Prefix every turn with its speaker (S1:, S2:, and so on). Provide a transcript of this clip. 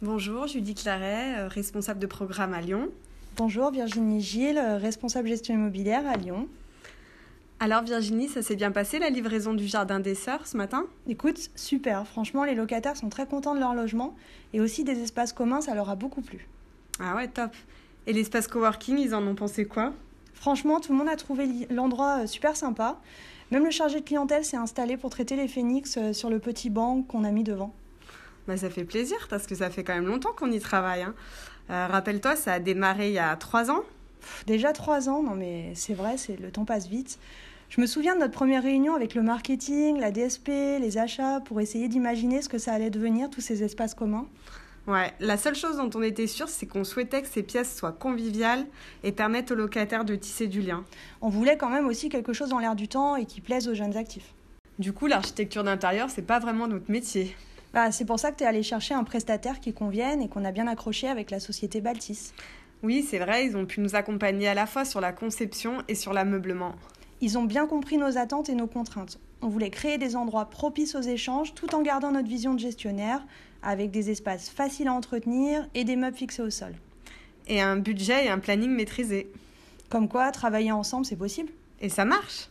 S1: Bonjour, Julie Claret, euh, responsable de programme à Lyon.
S2: Bonjour, Virginie Gilles, responsable gestion immobilière à Lyon.
S1: Alors Virginie, ça s'est bien passé la livraison du Jardin des Sœurs ce matin
S2: Écoute, super, franchement les locataires sont très contents de leur logement et aussi des espaces communs, ça leur a beaucoup plu.
S1: Ah ouais, top. Et l'espace coworking, ils en ont pensé quoi
S2: Franchement, tout le monde a trouvé li- l'endroit euh, super sympa. Même le chargé de clientèle s'est installé pour traiter les phénix euh, sur le petit banc qu'on a mis devant.
S1: Bah ça fait plaisir parce que ça fait quand même longtemps qu'on y travaille. hein. Euh, Rappelle-toi, ça a démarré il y a trois ans.
S2: Pff, déjà trois ans, non mais c'est vrai, c'est le temps passe vite. Je me souviens de notre première réunion avec le marketing, la DSP, les achats, pour essayer d'imaginer ce que ça allait devenir, tous ces espaces communs.
S1: Ouais, la seule chose dont on était sûr, c'est qu'on souhaitait que ces pièces soient conviviales et permettent aux locataires de tisser du lien.
S2: On voulait quand même aussi quelque chose dans l'air du temps et qui plaise aux jeunes actifs.
S1: Du coup, l'architecture d'intérieur, c'est pas vraiment notre métier.
S2: Bah, c'est pour ça que tu es allé chercher un prestataire qui convienne et qu'on a bien accroché avec la société Baltis.
S1: Oui, c'est vrai, ils ont pu nous accompagner à la fois sur la conception et sur l'ameublement.
S2: Ils ont bien compris nos attentes et nos contraintes. On voulait créer des endroits propices aux échanges tout en gardant notre vision de gestionnaire, avec des espaces faciles à entretenir et des meubles fixés au sol.
S1: Et un budget et un planning maîtrisés.
S2: Comme quoi, travailler ensemble, c'est possible.
S1: Et ça marche